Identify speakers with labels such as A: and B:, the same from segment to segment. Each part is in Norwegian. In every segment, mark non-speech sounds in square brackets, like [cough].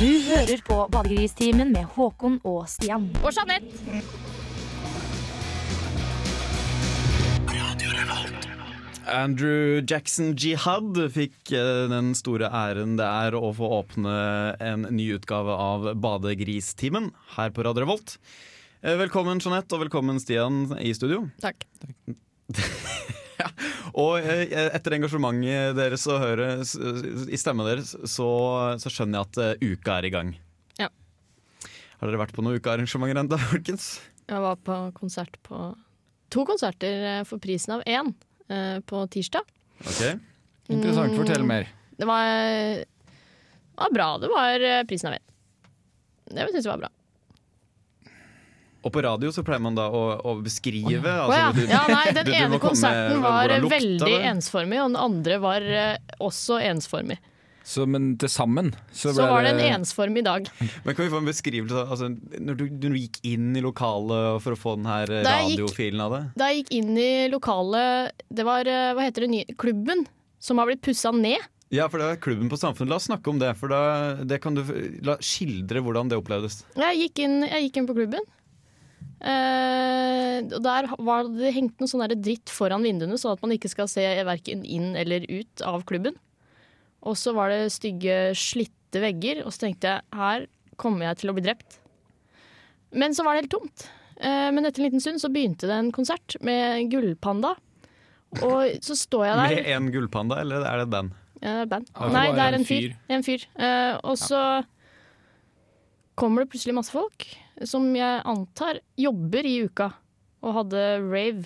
A: Du hører på Badegristimen med Håkon og Stian.
B: Og Jeanette.
C: Andrew Jackson Jihad fikk eh, den store æren det er å få åpne en ny utgave av Badegristimen her på Radio Revolt. Eh, Velkommen Jeanette og velkommen Stian i studio.
B: Takk.
C: Og eh, etter engasjementet deres og høret s- s- i stemmen deres, så, så skjønner jeg at eh, uka er i gang.
B: Ja.
C: Har dere vært på noen ukearrangementer ennå, folkens?
B: Jeg var på konsert på To konserter eh, for prisen av én eh, på tirsdag.
C: Ok.
D: Interessant.
B: Mm.
D: Fortell mer.
B: Det var, det var bra. Det var eh, prisen av én. Det syns jeg var bra.
C: Og på radio så pleier man da å, å beskrive.
B: Å
C: altså,
B: ja.
C: du-
B: ja, nei, den
C: du- du
B: ene
C: må komme
B: konserten
C: med
B: var
C: hvordan lukta
B: veldig
C: det.
B: ensformig, og den andre var eh, også ensformig.
D: Så, men til sammen så
B: Så
D: ble
B: var det en
D: det
B: ensformig dag.
C: Men kan vi få en beskrivelse av altså, når, du, når du gikk inn i lokalet for å få den her eh,
B: Da jeg gikk-
C: radiofilen av det?
B: Da jeg gikk inn i lokalet Det var eh, hva heter det, nye, klubben som har blitt pussa ned.
C: Ja, for det er klubben på Samfunnet. La oss snakke om det. For da det kan du la, skildre hvordan det opplevdes.
B: Jeg gikk inn, jeg gikk inn på klubben. Eh, og der var det hengt noe sånn der dritt foran vinduene, sånn at man ikke skal se verken inn eller ut av klubben. Og så var det stygge, slitte vegger, og så tenkte jeg her kommer jeg til å bli drept. Men så var det helt tomt. Eh, men etter en liten stund så begynte det en konsert med Gullpanda. Og så står jeg der
C: Med en gullpanda, eller er det den?
B: ja, det er Eh, band.
D: Ja, det
B: Nei,
D: var
B: det er
D: en
B: en fyr. En fyr. Eh, og så kommer det plutselig masse folk som jeg antar jobber i uka, og hadde rave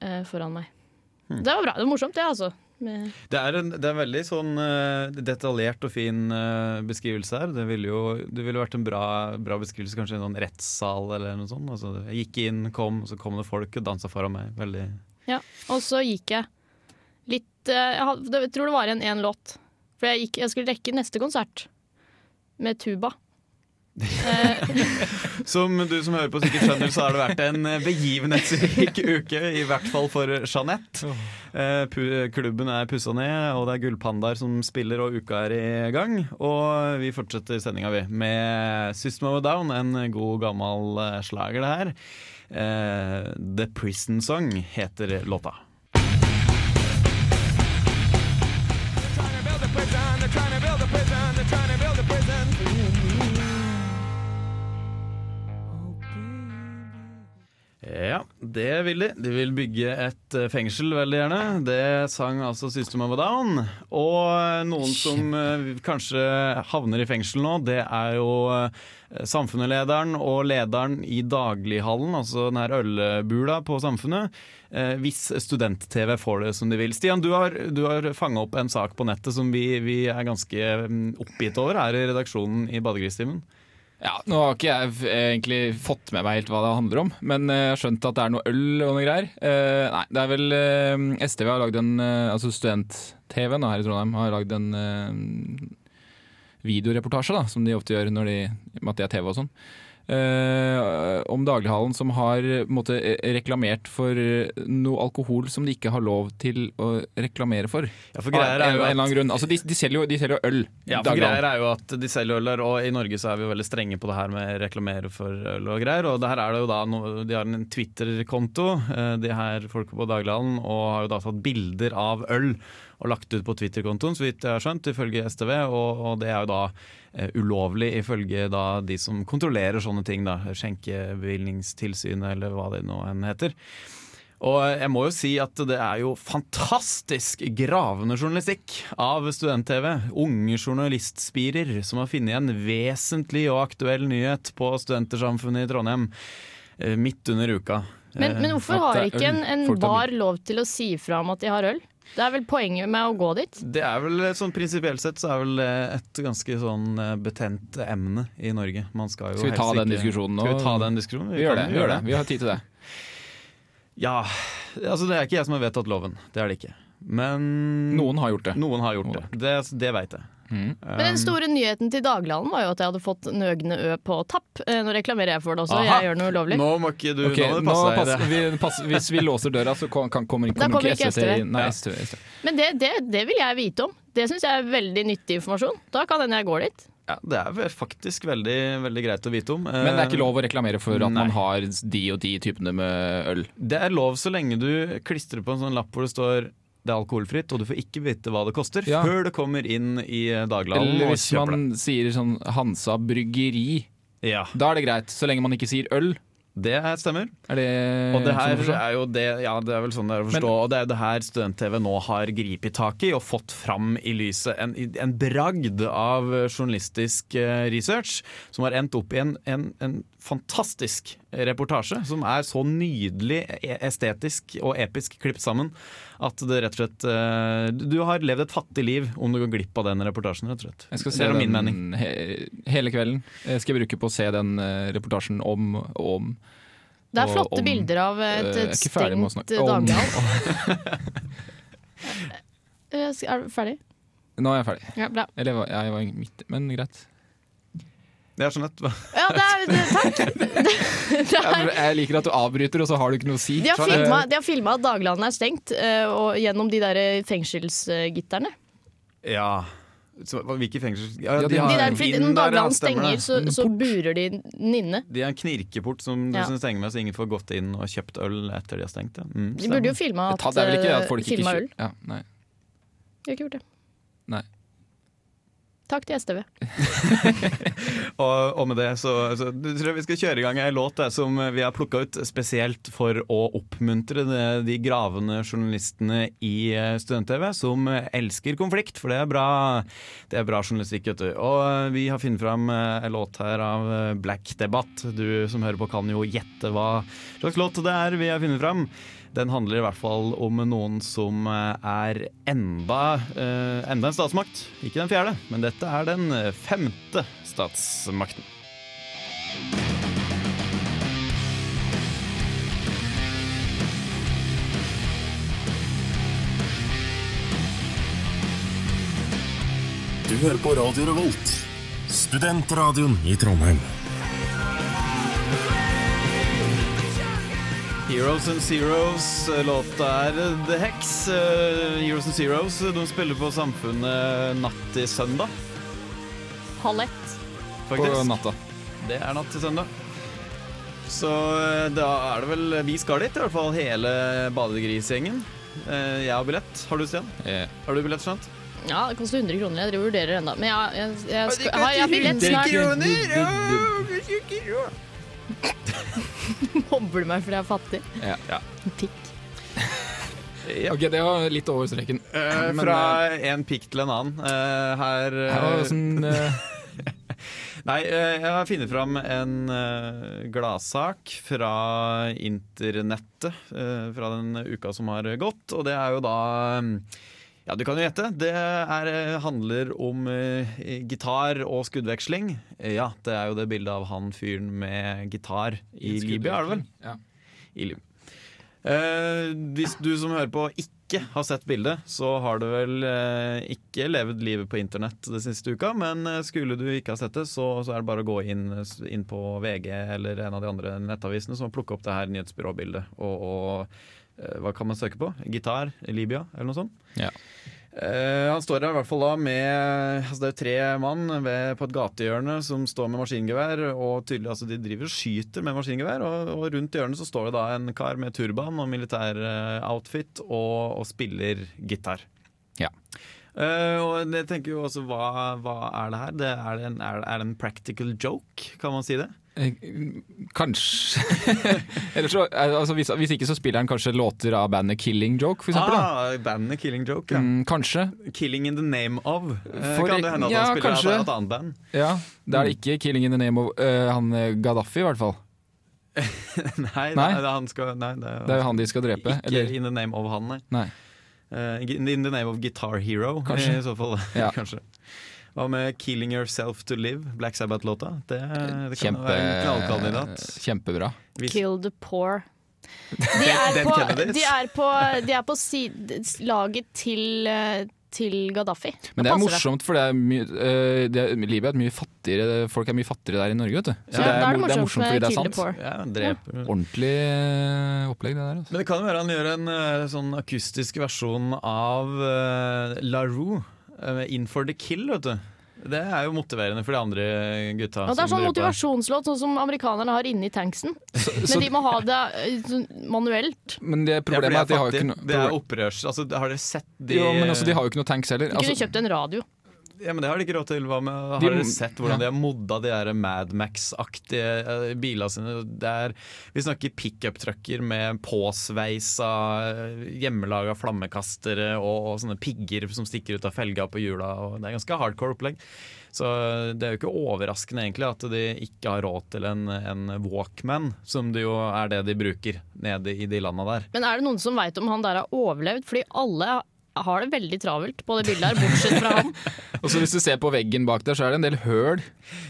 B: eh, foran meg.
D: Hmm.
B: Det var bra. Det var morsomt, det, altså. Med
C: Det er en, det er en veldig sånn eh, detaljert og fin eh, beskrivelse her. Det ville jo det ville vært en bra, bra beskrivelse, kanskje i en sånn rettssal eller noe sånt. Altså, jeg gikk inn, kom, så kom det folk og dansa foran meg. Veldig
B: Ja, og så gikk jeg litt eh, Jeg had- det- jeg tror det var igjen én låt. For jeg, gikk, jeg skulle rekke neste konsert med tuba.
C: Som du som hører på sikkert skjønner, så har det vært en eh, begivenhetsrik [laughs] uke, i hvert fall for Jeanette. Eh, pu- Klubben er pussa ned, og det er gullpandaer som spiller, og uka er i gang. Og vi fortsetter sendinga, vi, med System of a Down, en god gammel eh, slager, det her. Eh, The Prison Song heter låta. Ja, det vil de. De vil bygge et eh, fengsel, veldig gjerne. Det sang altså System of a Down. Og eh, noen som eh, kanskje havner i fengsel nå, det er jo eh, samfunnslederen og lederen i daglighallen, altså den her ølbula på Samfunnet. eh, Hvis student-TV får det som de vil. Stian, du har, du har fanga opp en sak på nettet som vi, vi er ganske mm, oppgitt over her i redaksjonen i Badegristimen.
D: ja, Nå har ikke jeg f- egentlig fått med meg helt hva det handler om, men eh, jeg har skjønt at det er noe øl og noe greier. Eh, nei, det er vel eh, STV har lagd en eh, Altså student-TV-en da, her i Trondheim har lagd en eh, videoreportasje, da, som de ofte gjør når de, med at det er TV og sånn. eh, om daglighallen som har eh, på en måte, eh, reklamert for eh, noe alkohol som de ikke har lov til å reklamere for.
C: Ja, for
D: Av en
C: greier er jo
D: eller
C: at-
D: annen grunn. Altså, de, de, selger jo, de selger jo øl.
C: Ja, for
D: daglighallen.
C: greier er jo at de selger øl her, og i Norge så er vi jo veldig strenge på det her med reklamere for øl og greier. Og det her er det jo da, no- De har en Twitter-konto, eh, de her folka på Daglighallen, og har jo da tatt bilder av øl og lagt ut på Twitter-kontoen, så vidt jeg har skjønt, ifølge STV. Og, og det er jo da eh, ulovlig ifølge da de som kontrollerer sånne ting, da. Skjenkebevilgningstilsynet eller hva det nå enn heter. Og jeg må jo si at det er jo fantastisk gravende journalistikk av Student-TV. Unge journalistspirer som har funnet en vesentlig og aktuell nyhet på Studentersamfunnet i Trondheim eh, midt under uka. Eh,
B: Men, men hvorfor
D: at
B: har
D: det er
B: ikke en,
D: Eh, øl
B: en
D: folk tar
B: bar lov til å si fra om at de har øl? Det er vel poenget med å gå dit?
C: Det er vel eh, sånn prinsipielt sett så er vel eh, et ganske sånn eh, betent emne i Norge. Man skal jo
D: Skal vi ta
C: helst
D: den
C: ikke-
D: diskusjonen nå?
C: Skal vi ta den diskusjonen?
D: Vi gjør det.
C: kan
D: vi gjør det. Vi har tid til det.
C: Mm. Ja, altså det er ikke jeg som har vedtatt loven. Det er det ikke. Men
D: Noen har gjort det.
C: noen har gjort det. Det, det veit jeg.
B: Men
D: Um,
B: den store nyheten til Daglighallen var jo at jeg hadde fått Nøgne Ø på tapp. Eh, Nå reklamerer jeg for det også,
C: Aha.
B: jeg gjør noe ulovlig.
C: Nå må ikke du
D: Ok,
C: nå må du
D: nå
C: passe deg i det.
D: passer, vi, passer, hvis vi låser døra, så kan, kan, kommer,
B: Da
D: kommer
B: kommer
D: ikke
B: ikke
D: STV
B: STV.
D: inn. Nei,
C: Ja.
D: STV, STV.
B: Men det, det, det vil jeg vite om. Det syns jeg er veldig nyttig informasjon. Da kan hende jeg går dit.
C: Ja, det er vel faktisk veldig, veldig greit å vite om. Eh,
D: Men det er ikke lov å reklamere for at
C: Nei.
D: man har de og de typene med øl.
C: Det er lov så lenge du klistrer på en sånn lapp hvor det står det er alkoholfritt, og du får ikke vite hva det koster
D: Ja.
C: før det kommer inn i Dagbladet
D: Eller
C: og
D: hvis
C: kjøper det.
D: man sier sånn Hansa bryggeri,
C: Ja,
D: da er det greit. Så lenge man ikke sier øl.
C: det her stemmer.
D: Er det
C: Og det her
D: sånn å forstå?
C: er jo det Ja, det er vel sånn det er å forstå. og det er det her Student-TV nå har gripet tak i og fått fram i lyset en, en bragd av journalistisk eh, research som har endt opp i en, en, en fantastisk reportasje som er så nydelig e- estetisk og episk klippet sammen at det rett og slett eh, Du har levd et fattig liv om du går glipp av den reportasjen, rett og slett.
D: Jeg skal
C: det
D: se
C: er jo
D: den
C: min mening.
D: He hele kvelden. Jeg skal bruke på å se den eh, reportasjen om og om.
B: Det er
D: Og
B: flotte
D: om-
B: bilder av et,
D: Eh, jeg er
B: et
D: ikke ferdig med å
B: stengt
D: snakke [laughs] om-
B: dagblad. Eh, Er du ferdig?
D: Nå er jeg ferdig.
B: Ja, bra.
D: Eller jeg var, jeg var midt, men greit.
C: Det er sånn at
B: Ja, det er, det, takk! Det, det er,
D: Jeg, jeg liker at du avbryter, og så har du ikke noe å si.
B: de har
D: Så, eh,
B: filma- de har filma at Daglandet er stengt, eh, og gjennom de der eh, fengselsgitterne.
C: Ja. Så, hvilke fengsel
D: Ja, de-
B: De
D: Ja,
B: der,
C: inn
B: fordi
C: der,
B: når
C: ja,
B: Dagland
C: stemmer
B: stenger,
C: det.
B: så, så burer de den inne.
C: De har en knirkeport som du
B: Ja.
C: synes stenger med, så ingen får gått inn og kjøpt øl etter de har stengt. Ja. Mm,
B: De burde jo filma
D: det
B: at,
D: er vel ikke det at
B: eh,
D: folk ikke
B: filma øl.
D: kjø- Ja, nei.
B: De har ikke gjort det.
D: Nei.
B: Takk til STV.
C: og, og med det så, så du tror jeg vi skal kjøre i gang ei låt der, som vi har plukka ut spesielt for å oppmuntre de, de gravende journalistene i eh, Student-TV, som eh, elsker konflikt, for det er bra, det er bra journalistikk, vet du. Og eh, vi har funnet fram eh, en låt her av eh, Black Debatt. Du som hører på kan jo gjette hva slags låt det er vi har funnet fram. Den handler i hvert fall om noen som eh, er enda, eh, enda en statsmakt. Ikke den fjerde, men dette er den eh, femte statsmakten.
E: Du hører på Radio Revolt, studentradioen i Trondheim.
C: Heroes and Zeros, eh, låta er The Hex. Eh, Heroes and Zeros eh, de spiller på Samfunnet natt til søndag,
B: Halv ett.
C: faktisk.
D: På natta.
C: Det er natt til søndag. Så eh, da er det vel Vi skal dit, i hvert fall hele badegrisgjengen. Eh, Jeg har billett. Har du, Stian?
D: Eh,
C: Har du billett, Skjønt?
B: Ja, det koster 100 kroner. Jeg driver og vurderer ennå. Men jeg, jeg, jeg,
C: det
B: skal,
C: koster
B: har jeg billett
C: 100
B: snart?
C: kroner? Ja,
B: Mobber du meg fordi jeg er fattig?
D: Ja.
B: Pikk.
D: Ok, det var litt over streken.
C: Eh,
D: Men,
C: Fra en pikk til en annen. Eh, her
D: eh,
C: eh,
D: her var det sånn, eh,
C: Nei, eh, jeg har funnet fram en eh, gladsak fra internettet eh, fra den uka som har gått, og det er jo da mm, ja, du kan jo gjette. Det er, handler om eh, gitar og skuddveksling. Eh, Ja, det er jo det bildet av han fyren med gitar [laughs] i Libya, er det vel?
D: Ja.
C: i Lim. Eh, hvis du som hører på ikke har sett bildet, så har du vel eh, ikke levd livet på internett det siste uka, men eh, skulle du ikke ha sett det, så, så er det bare å gå inn, inn på VG eller en av de andre nettavisene som har plukket opp det her nyhetsbyråbildet. Og, og eh, hva kan man søke på? Gitar i Libya, eller noe sånt?
D: Ja.
C: Eh, han står der i hvert fall da med altså Det er jo tre mann ved, på et gatehjørne som står med maskingevær. Og tydelig, altså De driver og skyter med maskingevær, og, og rundt hjørnet så står det da en kar med turban og militæroutfit og, og spiller gitar.
D: Ja.
C: Eh, og jeg tenker jo også, hva, hva er det her? Det er, det en, er, det- er det en practical joke, kan man si det?
D: eh, Kanskje. [laughs] Eller så, eh, altså, hvis, hvis ikke så spiller han kanskje låter av bandet Killing Joke, for eksempel. Da.
C: Ah, bandet Killing Joke, ja.
D: Mm, kanskje.
C: Killing in the name of. Eh,
D: For-
C: kan det hende at
D: ja,
C: han spiller
D: kanskje.
C: av et annet band? [laughs]
D: Ja, Det er det ikke. 'Killing in the name of' eh, han eh, Gaddafi, i hvert fall.
C: Nei,
D: Nei.
C: det er han skal Nei, det
D: Det er jo han de skal drepe.
C: Ikke
D: Eller,
C: in the name of han, nei.
D: nei.
C: Eh, in the name of Guitar Hero,
D: Kanskje.
C: i så fall.
D: Ja.
C: [laughs] Kanskje. Hva med 'Killing Yourself To Live', Black Sabbath-låta? Det, det kan
D: Eh, Kjempe,
C: være en knallkandidat.
D: kjempebra.
C: Hvis-
B: Kill the poor. De
C: Dead
B: er på,
C: Kennedys.
B: de er på, de er på side, laget til, eh, til Gaddafi.
D: Men det er
B: passer
D: morsomt, for det er mye, eh, det er, Libya er et mye fattigere folk er mye fattigere der i Norge, vet du.
B: Så da er det morsomt, med Kill the poor.
C: ja, dreper.
D: Ordentlig eh, opplegg, det der. Altså.
C: Men det kan jo være han gjør en eh, sånn akustisk versjon av eh, La Roux, eh, 'In for the Kill', vet du. Det er jo motiverende for de andre gutta.
B: Og det er sånn
C: som driver på der.
B: motivasjonslåt, sånn som amerikanerne har inni tanksen. Men de må ha det eh, sånn manuelt.
D: Men
C: Ja,
D: det
C: for
D: problemet er at de har jo
C: fattige.
D: ikke noe
C: Det er opprørs... Altså, har dere sett de
D: Jo, men altså, de har jo ikke noe tanks heller.
B: De kunne
D: Altså,
B: kjøpt en radio.
C: Ja, men Det har de ikke råd til. Hva med, har
D: De-
C: dere sett hvordan
D: ja.
C: de har modda de der Mad Max-aktige eh, bilene sine? Det er, vi snakker pickup-trucker med påsveisa, eh, hjemmelaga flammekastere og, og sånne pigger som stikker ut av felga på hjula. Og det er ganske hardcore opplegg. Så eh, det er jo ikke overraskende egentlig at de ikke har råd til en, en walkman, som det jo er det de bruker nede i de landa der.
B: Men er det noen som veit om han der har overlevd? Fordi alle har det veldig travelt på det bildet her, bortsett fra han.
D: og så altså, hvis du ser på veggen bak der, så er det en del høl.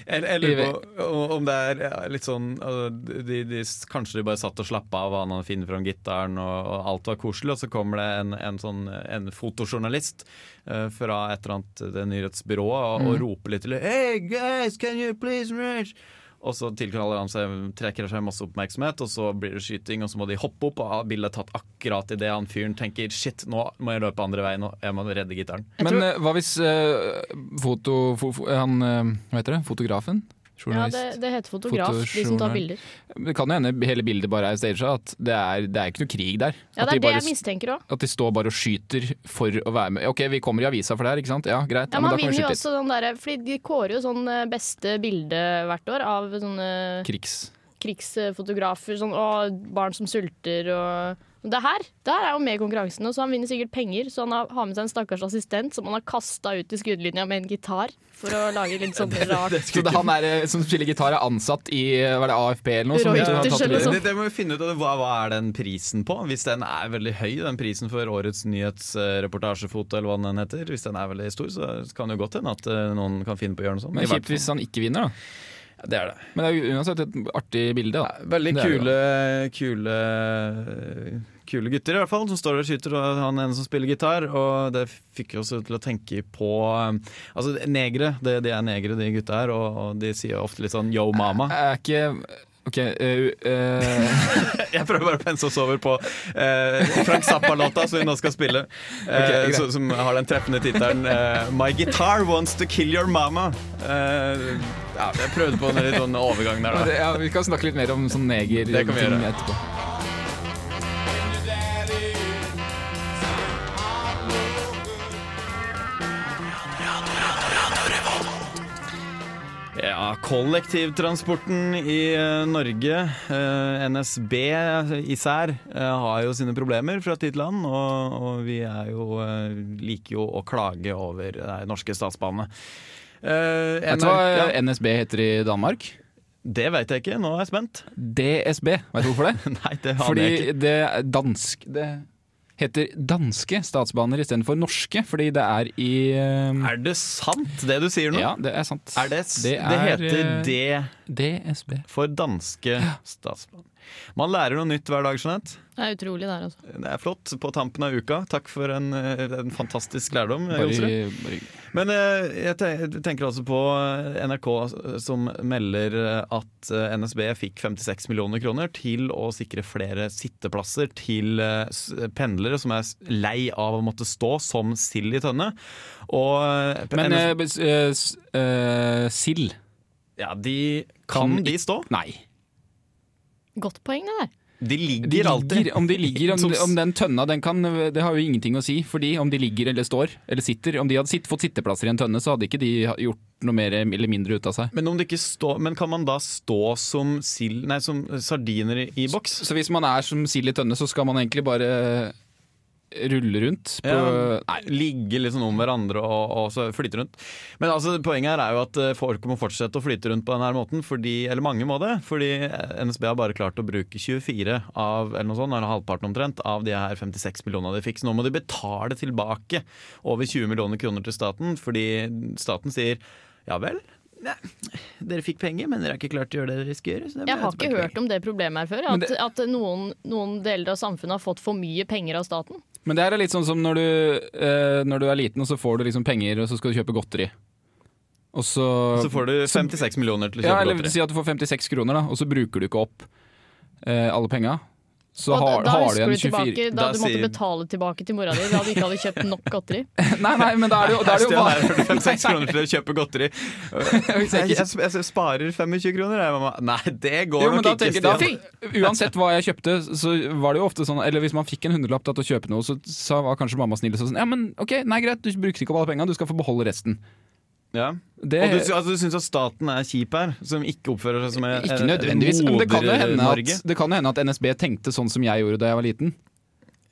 C: Jeg, jeg
D: I
C: lurer på o- om det er ja, litt sånn uh, de, de, Kanskje de bare satt og slappa av, og han hadde funnet fram gitaren, og, og alt var koselig, og så kommer det en, en, sånn, en fotojournalist uh, fra et eller annet det nyhetsbyrået og, og roper litt til Hey guys, can you please reach? Og så tilkaller han seg, trekker seg masse oppmerksomhet, og så blir det skyting, og så må de hoppe opp, og bildet er tatt akkurat idet han fyren tenker shit, nå må jeg løpe andre veien, og jeg må redde gitaren.
D: Men eh, hva hvis eh, foto... Fo, fo, han, eh, hva heter det? Fotografen?
B: [laughs] Ja,
D: Journalist?
B: det, det heter fotograf, de som tar
D: Fotojournal.
B: bilder.
D: det... kan jo hende hele bildet bare er staged, at det er, det er ikke noe krig der.
B: Ja, Det
D: at, de
B: er det
D: bare,
B: jeg mistenker òg.
D: at de står bare og skyter for å være med. Ok, vi kommer i avisa for det her, ikke sant? Ja, greit.
B: Ja,
D: Ja,
B: men han
D: men da kan vi
B: vinner jo
D: skyte litt.
B: også den derre Fordi de kårer jo sånn eh, beste bilde hvert år av sånne
D: Krigs...
B: krigsfotografer. Sånn, og barn som sulter og det her, det her er jo med i konkurransen, og så han vinner sikkert penger. Så han har, har med seg en stakkars assistent som han har kasta ut i skuddlinja med en gitar. For å lage [laughs] litt sånn rart.
D: Så det, han er, eh, som spiller gitar, er ansatt i eh, hva er det, AFP eller noe? som-
B: Roy
D: som har
B: Rogers
D: tatt
B: eller noe sånt.
D: det videre?
B: sånn.
C: Det, det må vi finne ut av. Hva, hva er den prisen på? Hvis den er veldig høy, den prisen for årets nyhetsreportasjefoto, eller hva den heter, hvis den er veldig stor, så kan det jo godt hende at eh, noen kan finne på å gjøre noe sånt. I
D: Men
C: hvert
D: kjipt hvis han ikke vinner, da.
C: fall. Det er det.
D: Men det er jo uansett et artig bilde, da.
C: Veldig
D: Det er det
C: kule, kule Kule gutter, i hvert fall, som står der og skyter. Og han ene som spiller gitar. Og det fikk oss til å tenke på eh, Altså, negere. Det, de er negere, de gutta her. Og, og de sier ofte litt sånn 'yo, mama'.
D: er ikke Ok, eh, eh,
C: [laughs] Jeg prøver bare å pense oss over på eh, Frank Zappa-låta som vi nå skal spille. Eh,
D: Ok, greit.
C: så, som har den treffende tittelen eh, 'My guitar wants to kill your mama'. Eh, ja, jeg prøvde på en litt sånn overgang der, da.
D: ja, Vi kan snakke litt mer om sånn neger
C: Det kan vi
D: ting
C: gjøre.
D: etterpå.
C: Ja, kollektivtransporten i eh, Norge, eh, NSB især, eh, har jo sine problemer fra tid til annen. Og, og vi er jo, eh, liker jo å klage over eh, norske statsbanene. Eh,
D: Vet du hva
C: NRK
D: eh, NSB heter i Danmark?
C: Det veit jeg ikke, nå er jeg spent.
D: DSB. Vet du hvorfor det?
C: [laughs] Nei, det aner
D: Fordi
C: jeg ikke.
D: det er dansk Det heter danske statsbaner istedenfor norske, fordi det er i eh,
C: Er det sant, det du sier nå?
D: Ja, det er sant.
C: Er det, det,
D: er,
C: heter
D: eh,
C: D
D: DSB.
C: for danske statsbaner. Man lærer noe nytt hver dag, Jeanette.
B: Det er utrolig der, altså.
C: Det er flott på tampen av uka. Takk for en, eh, en fantastisk lærdom.
D: Bare,
C: Jonsrud.
D: bare,
C: Men eh, jeg te- jeg tenker også på eh, NRK som melder eh, at eh, NSB fikk 56 millioner kroner til å sikre flere sitteplasser til eh, s- pendlere som er s- lei av å måtte stå som sild i tønne. Og eh,
D: men
C: NSB
D: eh, bes- eh, s- eh, sild
C: Ja, de kan,
D: Kan
C: de stå?
D: Nei.
B: Godt poeng, det der.
C: De ligger,
D: De
C: alltid.
D: ligger, om de
C: [laughs]
D: ligger, om,
C: Som-
D: om den tønna, den kan, det har jo ingenting å si. Fordi om de ligger eller står, eller sitter Om de hadde sitt, fått sitteplasser i en tønne, så hadde ikke de ha- gjort noe mer eller mindre ut av seg.
C: Men, om det ikke står- men kan man da stå som, sild- nei, som sardiner i, i boks?
D: Så hvis man er som sild i tønne, så skal man egentlig bare eh, rulle rundt på
C: Ja,
D: Nei.
C: eh, ligge litt sånn om hverandre og, og så flyte rundt. Men altså, poenget her er jo at eh, folk må fortsette å flyte rundt på denne måten, fordi, eller mange må det. Fordi eh, NSB har bare klart å bruke 24 av eller noe sånt, eller halvparten omtrent, av de her 56 millionene de fikk. Så nå må de betale tilbake over 20 millioner kroner til staten, fordi staten sier ja vel. Nei, dere fikk penger, men dere har ikke klart å gjøre det dere skal gjøre. Så det
B: Jeg har ikke hørt om det problemet her før.
D: Men
B: At,
D: det-
B: at noen, noen deler av samfunnet har fått for mye penger av staten.
D: Men det her er litt sånn som når du, eh, når du er liten, og så får du liksom penger, og så skal du kjøpe godteri. Og så,
C: Så får du 56 millioner til å
D: ja,
C: kjøpe
D: eller
C: godteri.
D: Si at du får 56 kroner, da, og så bruker du ikke opp eh, alle penga. så
B: Og da-
D: har,
B: da
D: har du
B: husker
D: igjen
B: du tilbake
D: 24
B: da
C: Da
B: du måtte
C: sier-
B: betale tilbake til mora di da du ikke hadde kjøpt nok
D: [laughs]
B: godteri.
D: Nei, nei, men da er det jo, da er det jo
C: Stian
D: bare
C: er
D: [laughs]
C: 46 kroner til å kjøpe godteri. Jeg,
D: Hvis jeg ikke-
C: sparer 25 kroner, jeg, mamma. Nei, det går
D: jo, men
C: nok
D: da
C: ikke.
D: tenker, da,
C: Stian.
D: uansett hva jeg kjøpte, så var det jo ofte sånn Eller hvis man fikk en hundrelapp da til å kjøpe noe, så, så var kanskje mamma snill og sa sånn Ja, men ok, nei greit, du brukte ikke opp alle pengene, du skal få beholde resten.
C: Ja.
D: Det,
C: Og du, altså, du syns at staten er kjip her, som ikke oppfører seg som en
D: ikke nødvendigvis. Men det kan jo hende
C: Norge.
D: at, det kan jo hende at NSB tenkte sånn som jeg gjorde da jeg var liten.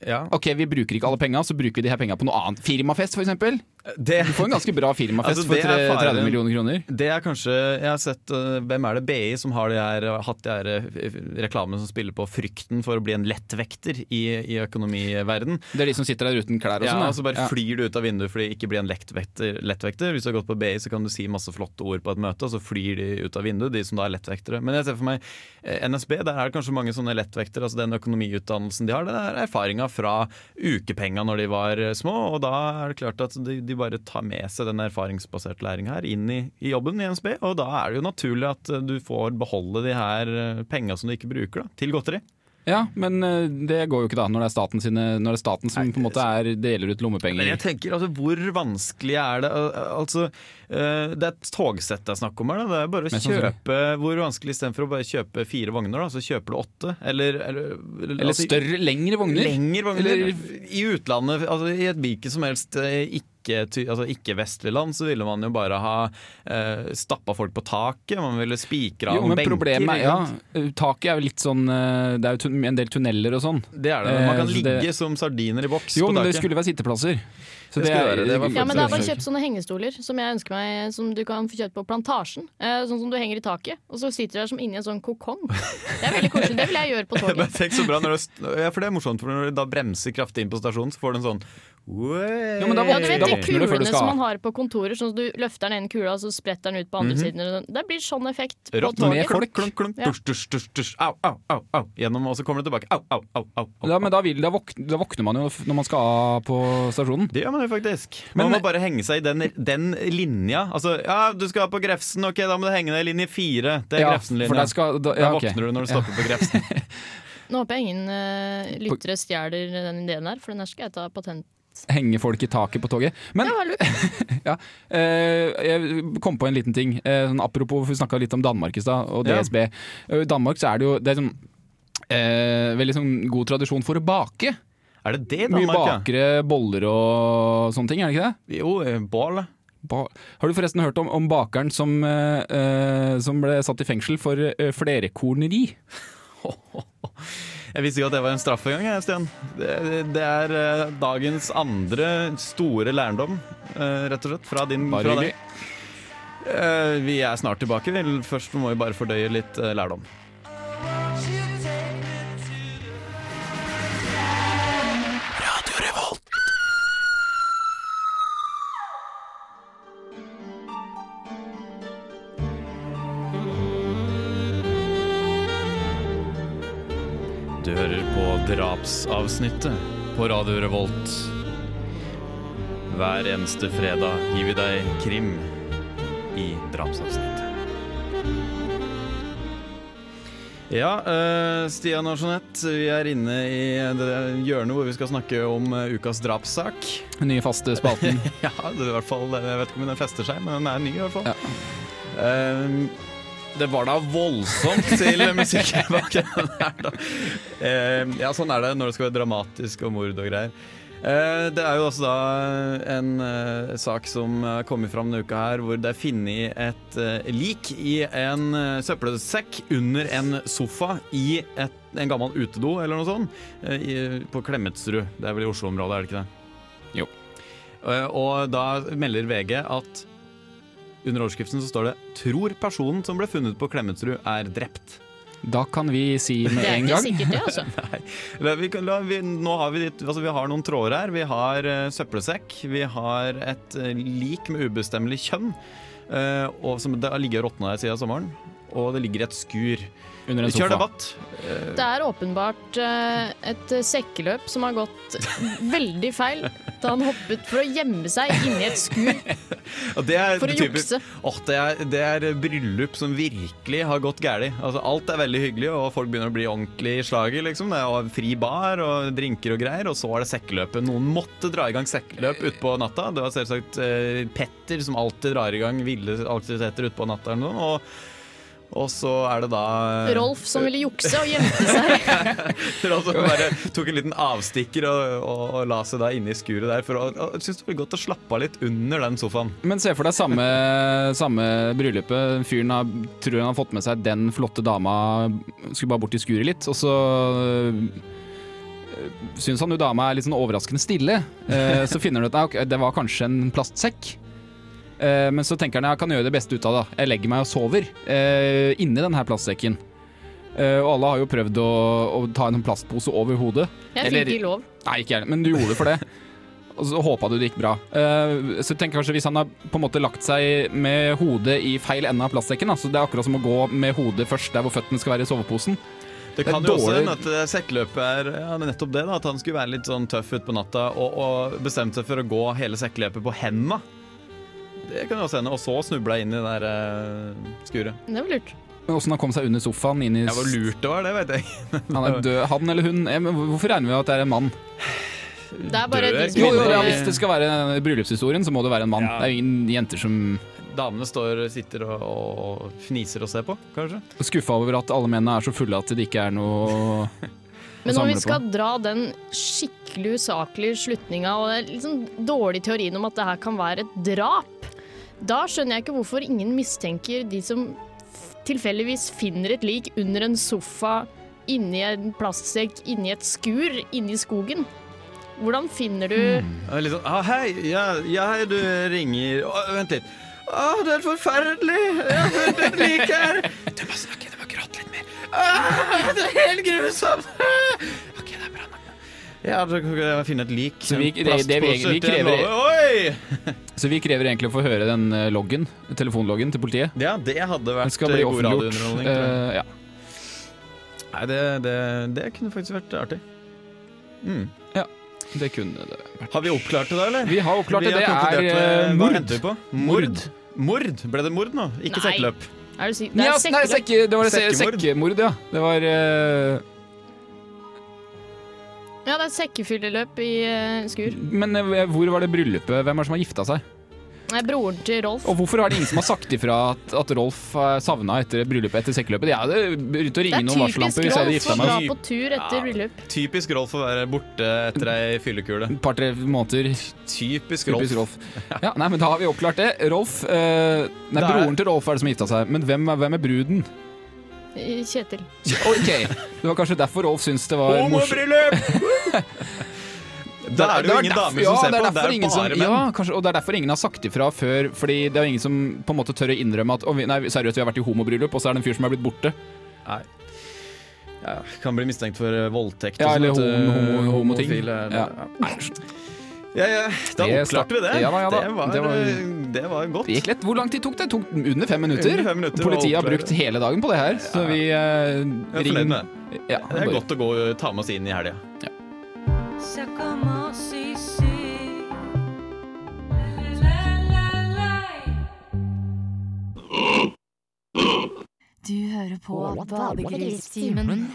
C: Ja.
D: Ok, vi bruker ikke alle penga, så bruker vi de her penga på noe annet. Firmafest, for eksempel.
C: Det,
D: Du får en ganske bra firmafest
C: Altså,
D: for
C: det er
D: tre- 30
C: faren.
D: millioner kroner.
C: det er kanskje Jeg har sett eh, Hvem er det BI som har de her, hatt de her eh, reklamene som spiller på frykten for å bli en lettvekter i, i økonomiverden?
D: Det er de som sitter der uten klær og
C: Ja,
D: sånn.
C: og så bare flyr du ut av vinduet fordi det ikke blir en lettvekter. lettvekter. Hvis du har gått på BI, så kan du si masse flotte ord på et møte, og så flyr de ut av vinduet, de som da er lettvektere. Men jeg ser for meg eh, NSB, der er det kanskje mange sånne lettvektere. altså Den økonomiutdannelsen de har, det er erfaringa fra ukepenga når de var eh, små, og da er det klart at de, de bare tar med seg den erfaringsbaserte læringa her inn i, i jobben i NSB, og da er det jo naturlig at eh, du får beholde de her eh, penga som du ikke bruker, da, til godteri.
D: Ja, men eh, det går jo ikke da, når det er staten, sine, når det er staten som på en måte er, deler ut lommepenger.
C: Men jeg tenker, altså, hvor vanskelig er det? Al- Altså, eh, det er et togsett det er snakk om her. Da. Det er bare å
D: Mest sannsynlig.
C: kjøpe Hvor vanskelig istedenfor å bare kjøpe fire vogner, da, så kjøper du åtte? Eller, eller,
D: Eller
C: altså,
D: større, lengre vogner.
C: Lengre vogner.
D: Eller-
C: I utlandet, altså, i et hvilket som helst eh, ikke ty- altså, ikke-vestlig land, så ville man jo bare ha eh, stappa folk på taket. Man ville spikra
D: Jo,
C: av
D: men
C: benker.
D: problemet er
C: ikke
D: ja,
C: sant?
D: Taket er jo litt sånn eh, Det er jo tun- en del tunneler og sånn.
C: Det er det. Man kan
D: Eh, så
C: ligge
D: det-
C: som sardiner i boks
D: Jo,
C: på
D: men det
C: taket.
D: skulle være sitteplasser. Så
C: Det skulle være det, det var
B: Ja, men det er bare
C: Absolutt.
B: kjøpt sånne hengestoler som jeg ønsker meg Som du kan få kjøpt på plantasjen. Eh, sånn som du henger i taket, og så sitter du der som inni en sånn kokong. Det er veldig koselig. Det vil jeg gjøre
D: [laughs]
B: på
C: Men
B: toget.
C: tenk så bra når du, ja, for det er morsomt, for når du da bremser kraftig inn på stasjonen, så får du en sånn
D: Ja, men da
B: Ja, du vet
D: Da
B: de
D: våkner du før du
B: kulene
D: skal.
B: som man har på kontorer, sånn at du løfter den ene kula, og så spretter den ut på andre siden. eller sånn. Det blir sånn effekt på
C: Rått
D: Mhm. med
B: toget.
D: folk.
C: Klunk, klunk,
B: Ja.
C: dusj, dusj, dusj, dusj, au, au, au, au. Gjennom, og så kommer du tilbake. Au, au, au, au. au.
D: Ja, men da, vil, da, våkner, da våkner man jo f- når man skal av på stasjonen.
C: Det gjør man jo faktisk. Man
D: Men-
C: må bare henge seg i den, den linja. Altså, ja, du skal på Grefsen, ok, da må du henge deg i linje fire. Det er
D: Ja, for
C: Grefsen-linja.
D: der skal, da,
C: Da
D: ja, ok.
C: våkner du når du stopper på Grefsen. [laughs]
B: Nå håper jeg ingen eh, lyttere stjeler den ideen her, for den her skal jeg ta patent
D: Henge folk i taket på toget. Men
B: Ja,
D: [laughs]
B: vel,
D: Eh, jeg kom på en liten ting. Eh, sånn, apropos, vi snakka litt om Danmark i stad, og
C: Ja.
D: DSB. Eh, I Danmark så er det jo det er sånn, eh, veldig sånn god tradisjon for å bake.
C: Er det det i
D: Mye
C: Danmark? ja?
D: bakere, boller og sånne ting, er det ikke det?
C: Jo, eh, bål.
D: Ba Har du forresten hørt om, om bakeren som, eh, eh, som ble satt i fengsel for eh, flerekorneri?
C: [laughs] Jeg visste ikke at det var en straff engang, jeg, Stian. Det, det er eh, dagens andre store lærdom, eh, rett og slett, fra din
D: Bare
C: fra deg.
D: hyggelig.
C: Eh, Vi er snart tilbake. vel. Først må vi bare fordøye litt eh, lærdom. Du hører på drapsavsnittet på Radio Revolt. Hver eneste fredag gir vi deg krim i drapsavsnittet. Ja, eh, Stian og Jeanette, vi er inne i det hjørnet hvor vi skal snakke om eh, ukas drapssak.
D: Den nye faste spalten.
C: [laughs] Ja, det er i hvert fall, eh, jeg vet ikke om den fester seg, men den er ny i hvert fall.
D: Ja.
C: Eh, det var da voldsomt til musikken bak [laughs] den her, da. Eh, ja, sånn er det når det skal være dramatisk og mord og greier. Eh, det er jo også da en eh, sak som har kommet fram denne uka her, hvor det er funnet et eh, lik i en eh, søppelsekk under en sofa i et, en gammel utedo eller noe sånt, eh, i, på Klemetsrud. Det er vel i Oslo-området, er det ikke det? Eh, Og da melder VG at under overskriften så står det 'Tror personen som ble funnet på Klemetsrud er drept'.
D: Da kan vi si med
B: Det er
D: en
B: ikke
D: gang
B: sikkert det,
D: [laughs]
B: altså.
C: La, vi, kan- la, vi, nå har vi, litt- altså vi har noen tråder her. Vi har eh, søppelsekk. Vi har et eh, lik med ubestemmelig kjønn. eh, og som det har ligget og råtna her siden sommeren. Og det ligger i et skur.
D: under en
C: Kjør
D: sofa.
C: debatt!
B: Det er åpenbart eh, et eh, sekkeløp som har gått veldig feil. Da han hoppet for å gjemme seg inni et
D: [laughs]
B: skur
C: Og det er
B: for å
C: typisk-
B: jukse.
C: Åh, det, er, det er bryllup som virkelig har gått gærlig. Altså, alt er veldig hyggelig, og folk begynner å bli ordentlig i slaget. Liksom. Det er jo fri bar og drinker og greier, og så er det sekkeløpet. Noen måtte dra i gang sekkeløp utpå natta. Det var selvsagt eh, Petter som alltid drar i gang ville aktiviteter utpå natta. Eller noe, sånt, og og så er det da eh,
B: Rolf som ville jukse og gjemte seg.
C: [laughs] Rolf som bare tok en liten avstikker og, og, og la seg da inne i skuret der. For å, og, jeg synes det var godt å slappe av litt under den sofaen.
D: Men se for deg samme, samme bryllupet. Fyren har, tror han har fått med seg den flotte dama, skulle bare bort i skuret litt, og så øh, syns han jo dama er litt sånn overraskende stille. Eh, så finner han ut at det var kanskje en plastsekk. Eh, men så tenker han jeg kan gjøre det beste ut av det. Jeg legger meg og sover eh, inni den her plastsekken. Eh, og alle har jo prøvd å, å ta en plastpose over hodet.
B: Jeg
D: Eller-
B: fikk ikke lov.
D: Nei, ikke jeg, men du gjorde det for
C: [laughs]
D: det. Og så håpa du det gikk bra. Eh, så tenk kanskje hvis han har på en måte lagt seg med hodet i feil ende av plastsekken, da. så det er akkurat som å gå med hodet først der hvor føttene skal være i soveposen.
C: Det
D: Det er
C: kan jo også
D: dårlig-
C: hende at eh, sekkeløpet er ja, det er nettopp det, da, at han skulle være litt sånn tøff utpå natta og, og bestemte seg for å gå hele sekkeløpet på henda. Det kan jo også hende. Og så snubla jeg inn i det der eh, skuret.
B: Det var lurt.
D: Men åssen han kom seg under sofaen, inn i
C: Ja, Hvor lurt det var, det vet jeg.
D: Han er død, han eller hun. Eh, men Hvorfor regner vi at det er en mann?
B: Det er bare
C: Dør
B: de som
D: Jo, jo,
C: kvinner
D: ja,
C: i-
D: Hvis det skal være bryllupshistorien, så må det være en mann.
C: Ja.
D: Det er jo ingen jenter som
C: Damene står, sitter og, og fniser og ser på, kanskje.
D: er skuffa over at alle mennene er så fulle at det ikke er noe
B: [laughs] Men når
D: samle
B: vi
D: på.
B: skal dra den skikkelig usaklige slutninga og den liksom dårlige teorien om at det her kan være et drap, da skjønner jeg ikke hvorfor ingen mistenker de som f- tilfeldigvis finner et lik under en sofa, inni en plastsekk, inni et skur, inni skogen. Hvordan finner du
D: Hmm.
C: Og Litt sånn ah, 'Hei, ja, ja, hei, du ringer Å, Vent litt. Å, det er forferdelig! Jeg har funnet et lik
D: [laughs]
C: her! Du må snakke, du må gråte litt mer. Ah, det er helt grusomt! OK, det er bra nok. Ja, så kan jeg finne et lik.
D: Så vi-
C: en
D: det- det vi
C: plastpose
D: egentlig
C: til en
D: krever-
C: låve. Oi!
D: Så vi krever egentlig å få høre den eh, loggen, telefonloggen til politiet.
C: Ja, det hadde
D: Den
C: vært
D: skal bli
C: eh, god
D: offentliggjort.
C: radiounderholdning. tror jeg.
D: Eh, ja.
C: Nei, det, det, det kunne faktisk vært artig. Mm.
D: Det kunne det.
C: Har vi oppklart det, da, eller?
D: Vi har oppklart det.
C: Vi
D: Det
C: har konkludert
D: er
C: med-
D: eh,
C: hva
D: mord.
C: endte vi på? Mord. Mord? Ble det mord nå? Ikke
B: Nei.
C: sekkeløp.
B: er det, si- det
D: Ja,
B: er
D: s- nei,
B: sekkeløp.
D: sekke, det var det se-
C: Sekkemord.
D: sekkemord, ja. Det var eh,
B: Ja, det er sekkefylleløp i eh, skur.
D: Men eh, hvor var det bryllupet? Hvem er det som har gifta seg?
B: Nei, broren til Rolf.
D: Og hvorfor er det ingen som har sagt ifra at, at Rolf er savna etter bryllupet etter sekkeløpet? Jeg hadde begynt å
B: Det
D: ringe
B: er
D: noen varsellamper
B: typisk
D: hvis jeg hadde
B: Rolf
D: gifta
B: å
D: meg
B: dra
C: meg.
B: på tur
C: Ja.
B: etter bryllup.
C: Typisk Rolf å være borte etter ei fyllekule.
D: et par-tre måneder.
C: Typisk Rolf.
D: Typisk Rolf. Ja, nei, men Da har vi oppklart det. Rolf eh, Nei,
C: Det er-
D: broren til Rolf er det som har gifta seg. Men hvem, er- hvem er bruden?
B: Kjetil.
D: Ok, Det var kanskje derfor Rolf syntes det var morsomt. [laughs]
C: Homobryllup! da er det jo ingen
D: derfor-
C: damer
D: ja,
C: som ser
D: det er
C: på, det
D: derfor
C: er
D: ingen
C: bare
D: som,
C: menn.
D: Ja, kanskje, og det er derfor ingen har sagt ifra før, fordi det er jo ingen som på en måte tør å innrømme at «Å, vi- Nei, seriøst, vi har vært i homobryllup, og så er det en fyr som er blitt borte.
C: Nei. Ja, kan bli mistenkt for eh, voldtekt
D: Ja,
C: og
D: eller
C: sånt,
D: homo-
C: eh,
D: homo- Sånn homoting.
C: homofile, eller-
D: Ja.
C: Ja, ja, da
D: Det
C: oppklarte
D: slapp-
C: vi det.
D: Ja da, ja da.
C: Det, var,
D: Det var-
C: eh, det var godt.
D: Det gikk lett. Hvor lang tid tok det? Det Tok under fem minutter.
C: Under fem minutter,
D: Politiet har
C: og oppklare.
D: brukt hele dagen på det her, så
C: Ja.
D: vi eh,
C: Jeg er fornøyd med det.
D: Ja,
C: Det er
D: bare-
C: godt å gå, ta med oss inn i helga.
F: Ça commence ici. La, la, la.
A: Du hører på
B: Badegristimen.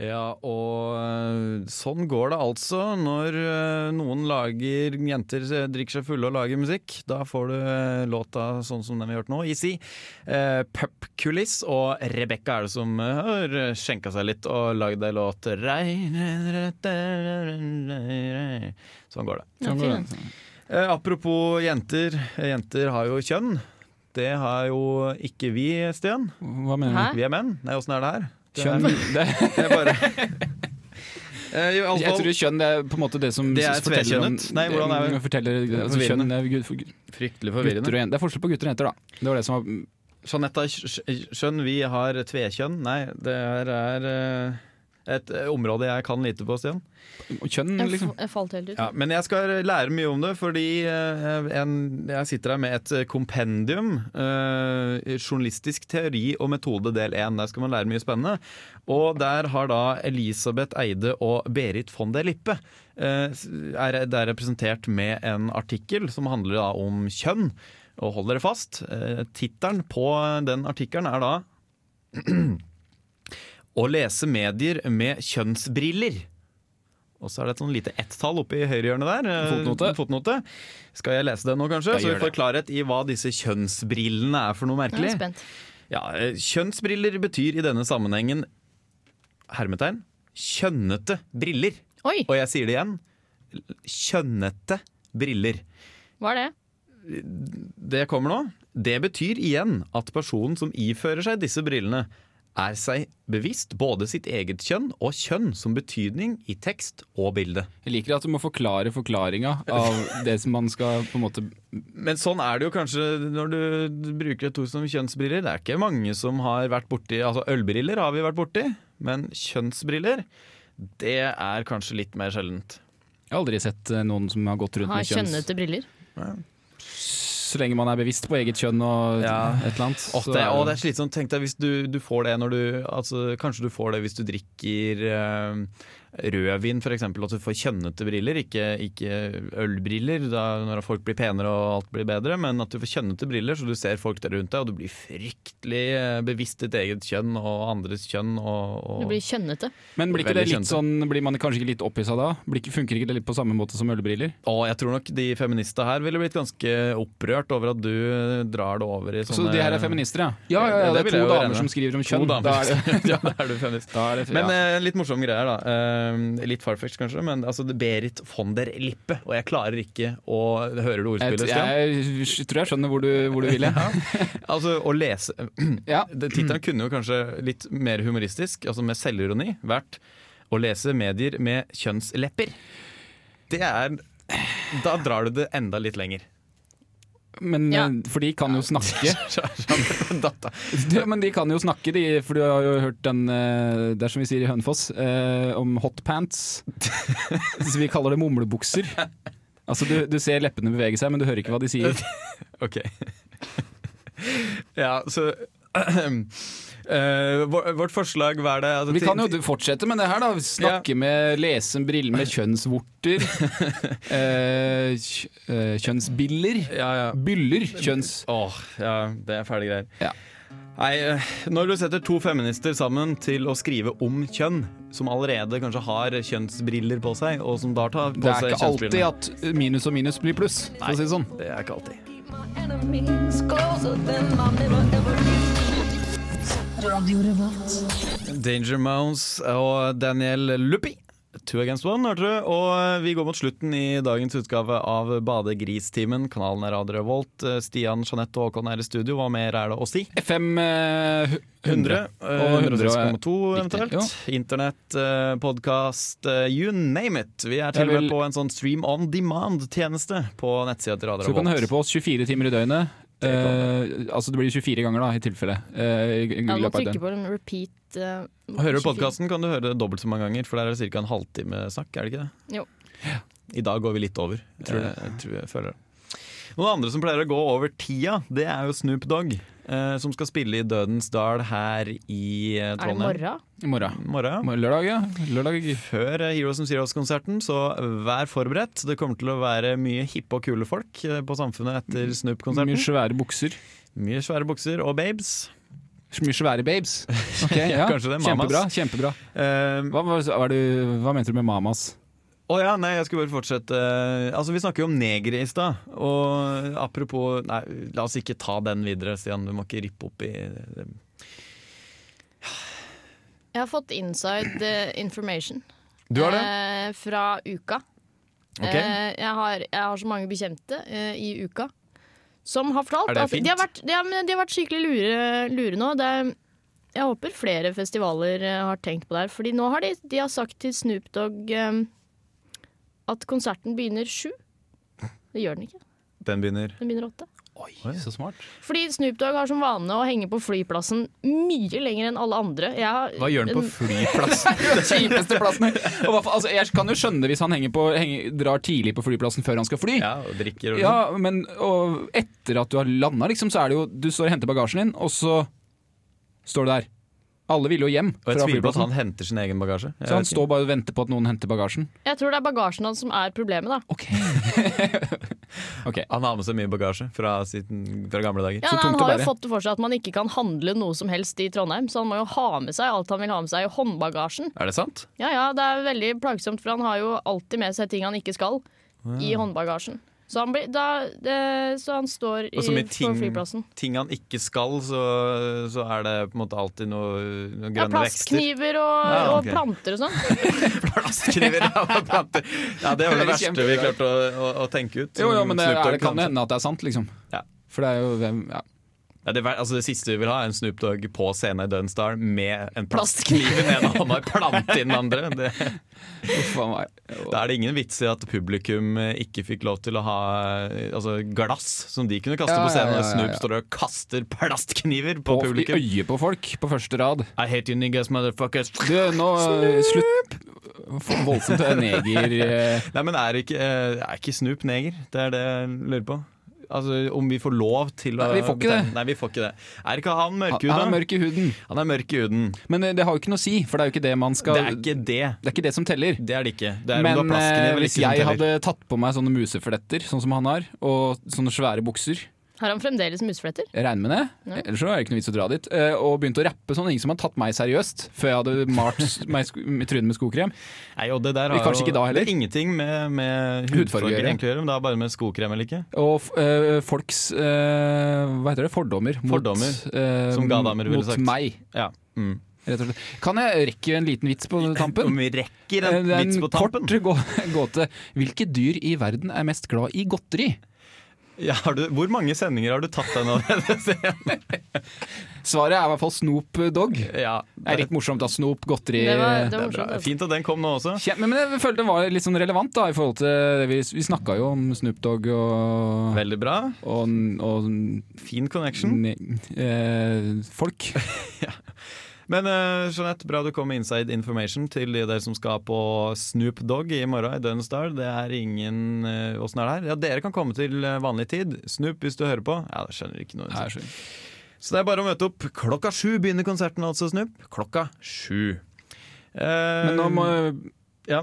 C: Ja, og eh, sånn går det altså når eh, noen lager Jenter eh, drikker seg fulle og lager musikk. Da får du eh, låta sånn som den vi har hørt nå, Easy. Uh, Pupkuliss og Rebekka er det som eh, har skjenka seg litt og lagd ei låt. Sånn går det.
B: Ja,
D: Sånn går
B: fin.
D: det.
C: Eh, apropos jenter. eh, Jenter har jo kjønn. Det har jo ikke vi, Stian.
D: Hva mener
B: Hæ?
D: du?
C: Vi er menn. Nei, åssen er det her? Det er-
D: Kjønn? [laughs] Det,
C: det er bare
D: [laughs]
C: Eh, i alle
D: jeg
C: fall-
D: tror kjønn det er på en måte det som
C: Det er
D: forteller om-
C: tvekjønnet. Nei, hvordan er det?
D: Forteller, altså,
C: Forvirrende.
D: kjønn er gud- for gutter
C: Fryktelig
D: og jen- Det er forskjell på gutter og jenter, da. Det var det som var
C: Jeanette, skj- skj- skjønn vi har tvekjønn. Nei, det her er eh, Et eh, område jeg kan lite på, Stian.
D: Kjønn,
B: Jeg,
D: liksom.
B: fa- jeg falt helt ut.
C: Ja, men jeg skal lære mye om det, fordi eh, en, jeg sitter her med et eh, kompendium. eh, journalistisk teori og metode del én. Der skal man lære mye spennende. Og der har da Elisabeth Eide og Berit von der Lippe eh, er, det er representert med en artikkel som handler da om kjønn. Og hold dere fast. Uh, Tittelen på den artikkelen er da Å lese medier med kjønnsbriller. Og så er det et sånn lite ett-tall oppe i høyrehjørnet der. eh,
D: Fotnote.
C: fotnote. Skal jeg lese det nå, kanskje?
D: Ja,
C: så vi
D: gjør
C: får
D: det.
C: klarhet i hva disse kjønnsbrillene er for noe
B: Jeg er
C: merkelig.
B: spent.
C: Ja, eh, kjønnsbriller betyr i denne sammenhengen hermetegn kjønnete briller.
B: Oi,
C: Og jeg sier det igjen. Kjønnete briller.
B: hva er det?
C: Det kommer nå. Det betyr igjen at personen som ifører seg disse brillene, er seg bevisst både sitt eget kjønn og kjønn som betydning i tekst og bilde.
D: Jeg liker at du må forklare forklaringa av det som man skal på en måte
C: Men sånn er det jo kanskje når du bruker et ord som kjønnsbriller. Det er ikke mange som har vært borti Altså ølbriller har vi vært borti, men kjønnsbriller, det er kanskje litt mer sjeldent.
D: Jeg har aldri sett eh, noen som har gått rundt
B: Ha
D: med kjønns...
B: kjønnete briller.
D: Så lenge man er bevisst på eget kjønn og
C: Ja.
D: et eller annet.
C: Åh,
D: så
C: det,
D: er
C: å, det er slitsomt. Tenk deg hvis du, du får det når du altså, Kanskje du får det hvis du drikker eh, rødvin f.eks. At du får kjønnete briller, ikke, ikke ølbriller da, når folk blir penere og alt blir bedre. Men at du får kjønnete briller så du ser folk der rundt deg, og du blir fryktelig eh, bevisst ditt eget kjønn og andres kjønn. Og, og
B: Du blir kjønnete.
D: Men blir, ikke det
C: Veldig
D: litt
C: kjønte.
D: sånn, blir man kanskje ikke litt opphissa da? Blir ikke, funker ikke det litt på samme måte som ølbriller?
C: Og jeg tror nok de feminista her ville blitt ganske opprørt over at du eh, drar det over i sånne
D: Så de her er feminister, ja? Ja, ja, ja,
C: Det
D: det er
C: vil
D: to
C: jeg jo regne.
D: damer som skriver om
C: To
D: kjønn. Da
C: damer.
D: er det,
C: [laughs] ja, da er du feminist.
D: da er det,
C: Men
D: ja.
C: eh, litt morsomme greier, da. Eh, litt farfetch, kanskje, men altså, det er Berit von der Lippe. Og jeg klarer ikke å Hører du ordspillet,
D: jeg,
C: Stian?
D: jeg tror jeg skjønner hvor du, hvor du vil. jeg.
C: Altså, å lese
D: Ja.
C: Det- Tittelen kunne jo kanskje litt mer humoristisk, altså med selvironi, vært 'Å lese medier med kjønnslepper'. Det er Da drar du det enda litt lenger. [laughs]
D: Men,
B: Ja.
D: eh, For de kan jo snakke.
C: Datta.
D: Ja, men de kan jo snakke, de, for du har jo hørt den eh, Det er som vi sier i Hønefoss, eh, om
C: [laughs]
D: hotpants. Så vi kaller det mumlebukser. Altså, du, du ser leppene bevege seg, men du hører ikke hva de
C: [laughs]
D: sier.
C: Ok. ja, så [clears throat] eh, vår- Vårt forslag, hva er det? Altså,
D: Vi
C: til-
D: kan jo fortsette med det her, da. Snakke med lese en brille med
C: [laughs]
D: kjønnsvorter. eh, kj- eh, kjønnsbiller.
C: ja, ja.
D: Byller. Kjønns...
C: Åh, ja, det er fæle greier.
D: Ja.
C: Nei, eh, når du setter to feminister sammen til å skrive om kjønn, som allerede kanskje har kjønnsbriller på seg, og som da tar på
D: Det er
C: seg
D: ikke alltid
C: kjønnsbrillene
D: at minus og minus blir pluss, for å si det sånn.
C: Det er ikke alltid. Danger Mouse og Daniel Luppi. Two against one, hørte du. Og eh, vi går mot slutten i dagens utgave av Badegristimen. Kanalen er Radio Revolt. Eh, Stian, Jeanette og Håkon er i studio. Hva mer er det å si?
D: FM eh, 100.
C: 100, og
D: Og
C: 106,2
D: riktig,
C: eventuelt. Internett, eh, podkast, eh, you name it. Vi er til
D: Jeg
C: og med
D: vil-
C: på en sånn stream on demand-tjeneste på nettsida til Radio
D: Så du kan
C: Revolt.
D: høre på oss 24 timer i døgnet.
C: Det
D: Eh, altså det blir 24 ganger, da, i tilfelle. eh, i- i
B: Ja, du må
D: løpet av
B: trykke
D: døgnet.
B: på en repeat. eh,
C: Hører du
B: 24.
C: podkasten, kan du høre det dobbelt så mange ganger, for der er det ca. en halvtime snakk, er det ikke det?
B: Jo.
C: I dag går vi litt over.
D: Tror du
C: Eh, Jeg tror jeg føler det. Noen andre som pleier å gå over tida, det er jo Snoop Dogg, eh, som skal spille i Dødens Dal her i eh,
B: Er det
C: Trondheim.
B: morgen?
D: I morgen.
C: Morgen, ja.
D: Lørdag, ja. Lørdag.
C: før eh, Heroes and Zeros-konserten, så vær forberedt. Det kommer til å være mye hippe og kule folk eh, på Samfunnet etter
D: Mye
C: Snoop-konserten.
D: svære bukser.
C: Mye svære bukser og babes.
D: Mye
C: [laughs]
D: svære babes. Ok, ja.
C: Kanskje det, mamas.
D: Kjempebra. kjempebra
C: Eh,
D: hva, var- hva, er det- hva mente du med mamas?
C: Å ja, nei, jeg skulle bare fortsette. Eh, Altså, Vi snakker jo om negere i stad. Og apropos Nei, la oss ikke ta den videre, Stian. Du må ikke rippe opp i eh,
B: Jeg har fått inside eh, information.
C: Du har det?
B: Eh, fra uka.
C: Ok.
B: Eh, jeg, har, jeg har så mange bekjente eh, i uka som har fortalt
C: Er det
B: at
C: fint?
B: de har vært, ja, men de har vært skikkelig lure, lure nå. Det er, jeg håper flere festivaler eh, har tenkt på det her. Fordi nå har de, de har sagt til Snoop Dogg eh, at konserten begynner sju. Det gjør den ikke.
C: Den begynner
B: Den begynner åtte.
C: Å
D: Oi, så smart.
B: Fordi Snoop Dogg har som vane å henge på flyplassen mye lenger enn alle andre. Jeg har
C: Hva gjør han på
B: en-
D: [laughs]
C: flyplassen?
D: Den kjipeste plassen. Og hva for- altså, jeg kan jo skjønne hvis han henger på, henger, drar tidlig på flyplassen før han skal fly.
C: Ja, og drikker og sånn.
D: Ja, men og etter at du har landa, liksom, så er det jo Du står og henter bagasjen din, og så står du der. Alle vil jo hjem
C: Og jeg
D: fra
C: tviler på at
D: flyplassen.
C: han henter sin egen bagasje. Jeg
D: Så han
C: vet
D: står bare og venter på at noen henter bagasjen.
B: Jeg tror det er bagasjen hans som er problemet, da.
D: Ok
C: ikke. han har med seg mye bagasje fra, sitt- fra gamle dager.
B: Ja,
D: Så
B: nei, han
D: tungt å
B: har jo
D: bære.
B: fått det for seg at man ikke kan handle noe som helst i Trondheim, så han må jo ha med seg alt han vil ha med seg i håndbagasjen.
C: Er det sant?
B: Ja ja, det er veldig plagsomt, for han har jo alltid med seg ting han ikke skal i håndbagasjen. Så han, blir, da, det, så han står i,
C: Og så mye
B: på
C: ting,
B: flyplassen.
C: ting han ikke skal, så, så er det på en måte alltid noe, noen
B: Ja,
C: grønne vekster.
B: plastkniver og,
C: Ja, ok.
B: og planter og sånn.
C: Plastkniver og planter. Ja, det var det
D: Det er
C: verste vi klarte å, å, å tenke ut.
D: Jo, jo, men det,
C: Snoop Dogg
D: er, det kan
C: kan-
D: hende at det er sant, liksom.
C: Ja.
D: For det er jo hvem ja.
C: Ja, det, ver- altså det siste vi vil ha, er en Snoop Dogg på scenen i Dunstar med en plastkniv i den ene hånda og en plante i den andre. Det,
D: Uff a meg.
C: da er det ingen vits i at publikum eh, ikke fikk lov til å ha eh, altså glass som de kunne kaste
D: Ja,
C: på scenen,
D: ja,
C: og
D: ja, ja,
C: Snoop
D: ja.
C: står og kaster plastkniver på
D: Og i
C: publikum.
D: øyet på folk på første rad.
C: I hate you niggas, motherfuckers.
D: Du, nå eh, Slutt. For Voldsomt neger... eh,
C: Nei, men er ikke, eh, er ikke Snoop neger? Det er det jeg lurer på. Altså, Om vi får lov til å
D: Nei, vi får ikke
C: betale-
D: det.
C: Nei, vi får ikke det. Er ikke han
D: Han
C: mørkhuda?
D: han er mørk i huden.
C: Han er mørk i huden.
D: Men eh, det har jo ikke noe å si, for det er jo ikke det man skal
C: Det er ikke det.
D: det er ikke det som teller.
C: Det er det ikke. Det er om
D: Men
C: du har plasken
D: eh,
C: eller
D: hvis
C: ikke som
D: jeg
C: teller.
D: hadde tatt på meg sånne musefletter, sånn som han har, og sånne svære bukser,
B: Har han fremdeles musefletter?
D: jeg regner med det, ellers så er det ikke noe vits å dra dit, eh, og begynte å rappe sånn, ingen som hadde tatt meg seriøst før jeg hadde malt s- [laughs] meg sk- med trynet med skokrem.
C: Nei, og det der har
D: Kanskje
C: jo
D: ikke da heller.
C: det er ingenting med, med
D: Hudfarge å
C: hudfarge
D: gjøre.
C: egentlig å gjøre, men det har bare med skokrem eller ikke.
D: Og f- eh, folks eh, hva heter det, fordommer.
C: Fordommer,
D: eh,
C: som Gadamer ville
D: mot
C: sagt.
D: meg,
C: Ja. Mm.
D: rett og slett. Kan jeg rekke en liten vits på
C: [laughs]
D: tampen? Eh,
C: Om vi rekker en
D: Det er
C: vits på tampen?
D: kort gå- [laughs] gåte. Hvilke dyr i verden er mest glad i godteri?
C: Ja, har du, hvor mange sendinger har du tatt deg nå? [laughs]
D: Svaret er i hvert fall Snoop Dogg.
C: ja,
D: Det er litt morsomt da, Snop, godteri
B: Det var, det var
C: det er bra.
B: morsomt. altså.
C: Fint at den kom nå også.
D: Kjem- Men jeg følte det var litt sånn relevant da, i forhold til det vi, vi snakka jo om Snoop Dogg og,
C: Veldig bra.
D: og, og
C: Fin connection.
D: ne, eh, folk.
C: [laughs] Men eh, Jeanette, bra du kom med inside information til de der som skal på Snoop Dogg i morgen i Dunstar. Det er ingen eh, Åssen er det her? Ja, dere kan komme til eh, vanlig tid. Snoop, hvis du hører på. Ja, det skjønner ikke noe.
D: Nei, jeg
B: [laughs]
D: skjønner.
C: Så det er bare å møte opp. Klokka sju begynner konserten altså, Snoop. Klokka sju. Eh,
D: Men nå, må,
C: ja.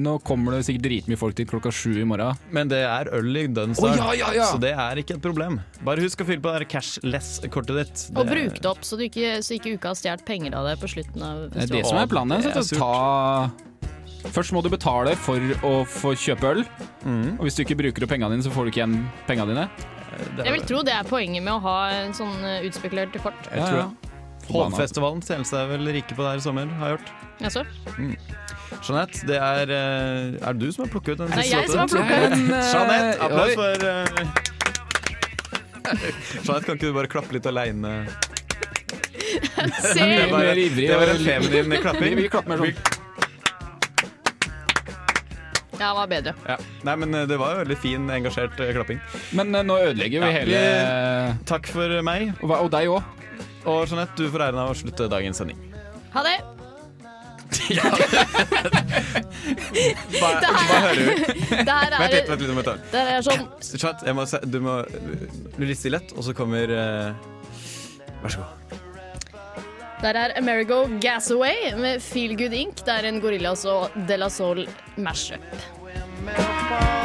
D: nå kommer det sikkert dritmye folk til klokka sju i morgen.
C: Men det er øl i
D: Å
C: Dunstar,
D: ja, ja, ja!
C: så det er ikke et problem. Bare husk å fylle på det der cashless-kortet ditt.
B: Og bruk det opp, så, du ikke, så ikke uka har stjålet penger av deg på slutten av
D: Det er det
B: festivalen.
D: som er planen.
C: Det er
D: Så ta, først må du betale for å få kjøpe øl.
C: Mm.
D: Og hvis du ikke bruker opp pengene dine, så får du ikke igjen pengene dine.
C: Det
B: Jeg
C: er
B: vil tro det er poenget med å ha en sånn eh, utspekulert kort.
C: Jeg tror det.
D: Forbanna.
C: Hovefestivalen tjener seg vel rike på det her i sommer, har jeg hørt.
B: Altså,
C: Jeanette, det er eh, Er det du som har plukket ut den
B: det er
C: siste
B: jeg som har
D: Det er
B: plukka
D: en,
C: [laughs]
D: eh,
C: Jeanette, applaus
D: oi.
C: for eh, [laughs] Jeanette, kan ikke du bare klappe litt aleine?
B: Se!
C: Det var,
D: Mer ivrig
C: det var
D: og-
C: en feminin
D: [laughs]
C: klapping.
D: Vi- vi klapper mer sånn.
B: Ja, det var bedre.
C: Ja. Nei, men eh, det var jo veldig fin, engasjert eh, klapping.
D: Men eh, nå ødelegger vi
C: Ja,
D: hele
C: Takk for meg,
D: Og, og deg òg.
C: og Jeanette, du får æren av å slutte dagens sending.
B: Ha det!
C: [laughs] Hva,
B: Det her-
C: hva hører du?
B: [laughs] Det her er,
C: Vent litt, vent litt. Vent litt.
B: det her er sånn
C: Jeanette, jeg må se, du må bli litt stillhet, og så kommer eh, Vær så god.
B: Der er Amerigo Gasaway med Feel Good Inc. Det er en Gorillas og De La Soul mashup.
G: meltball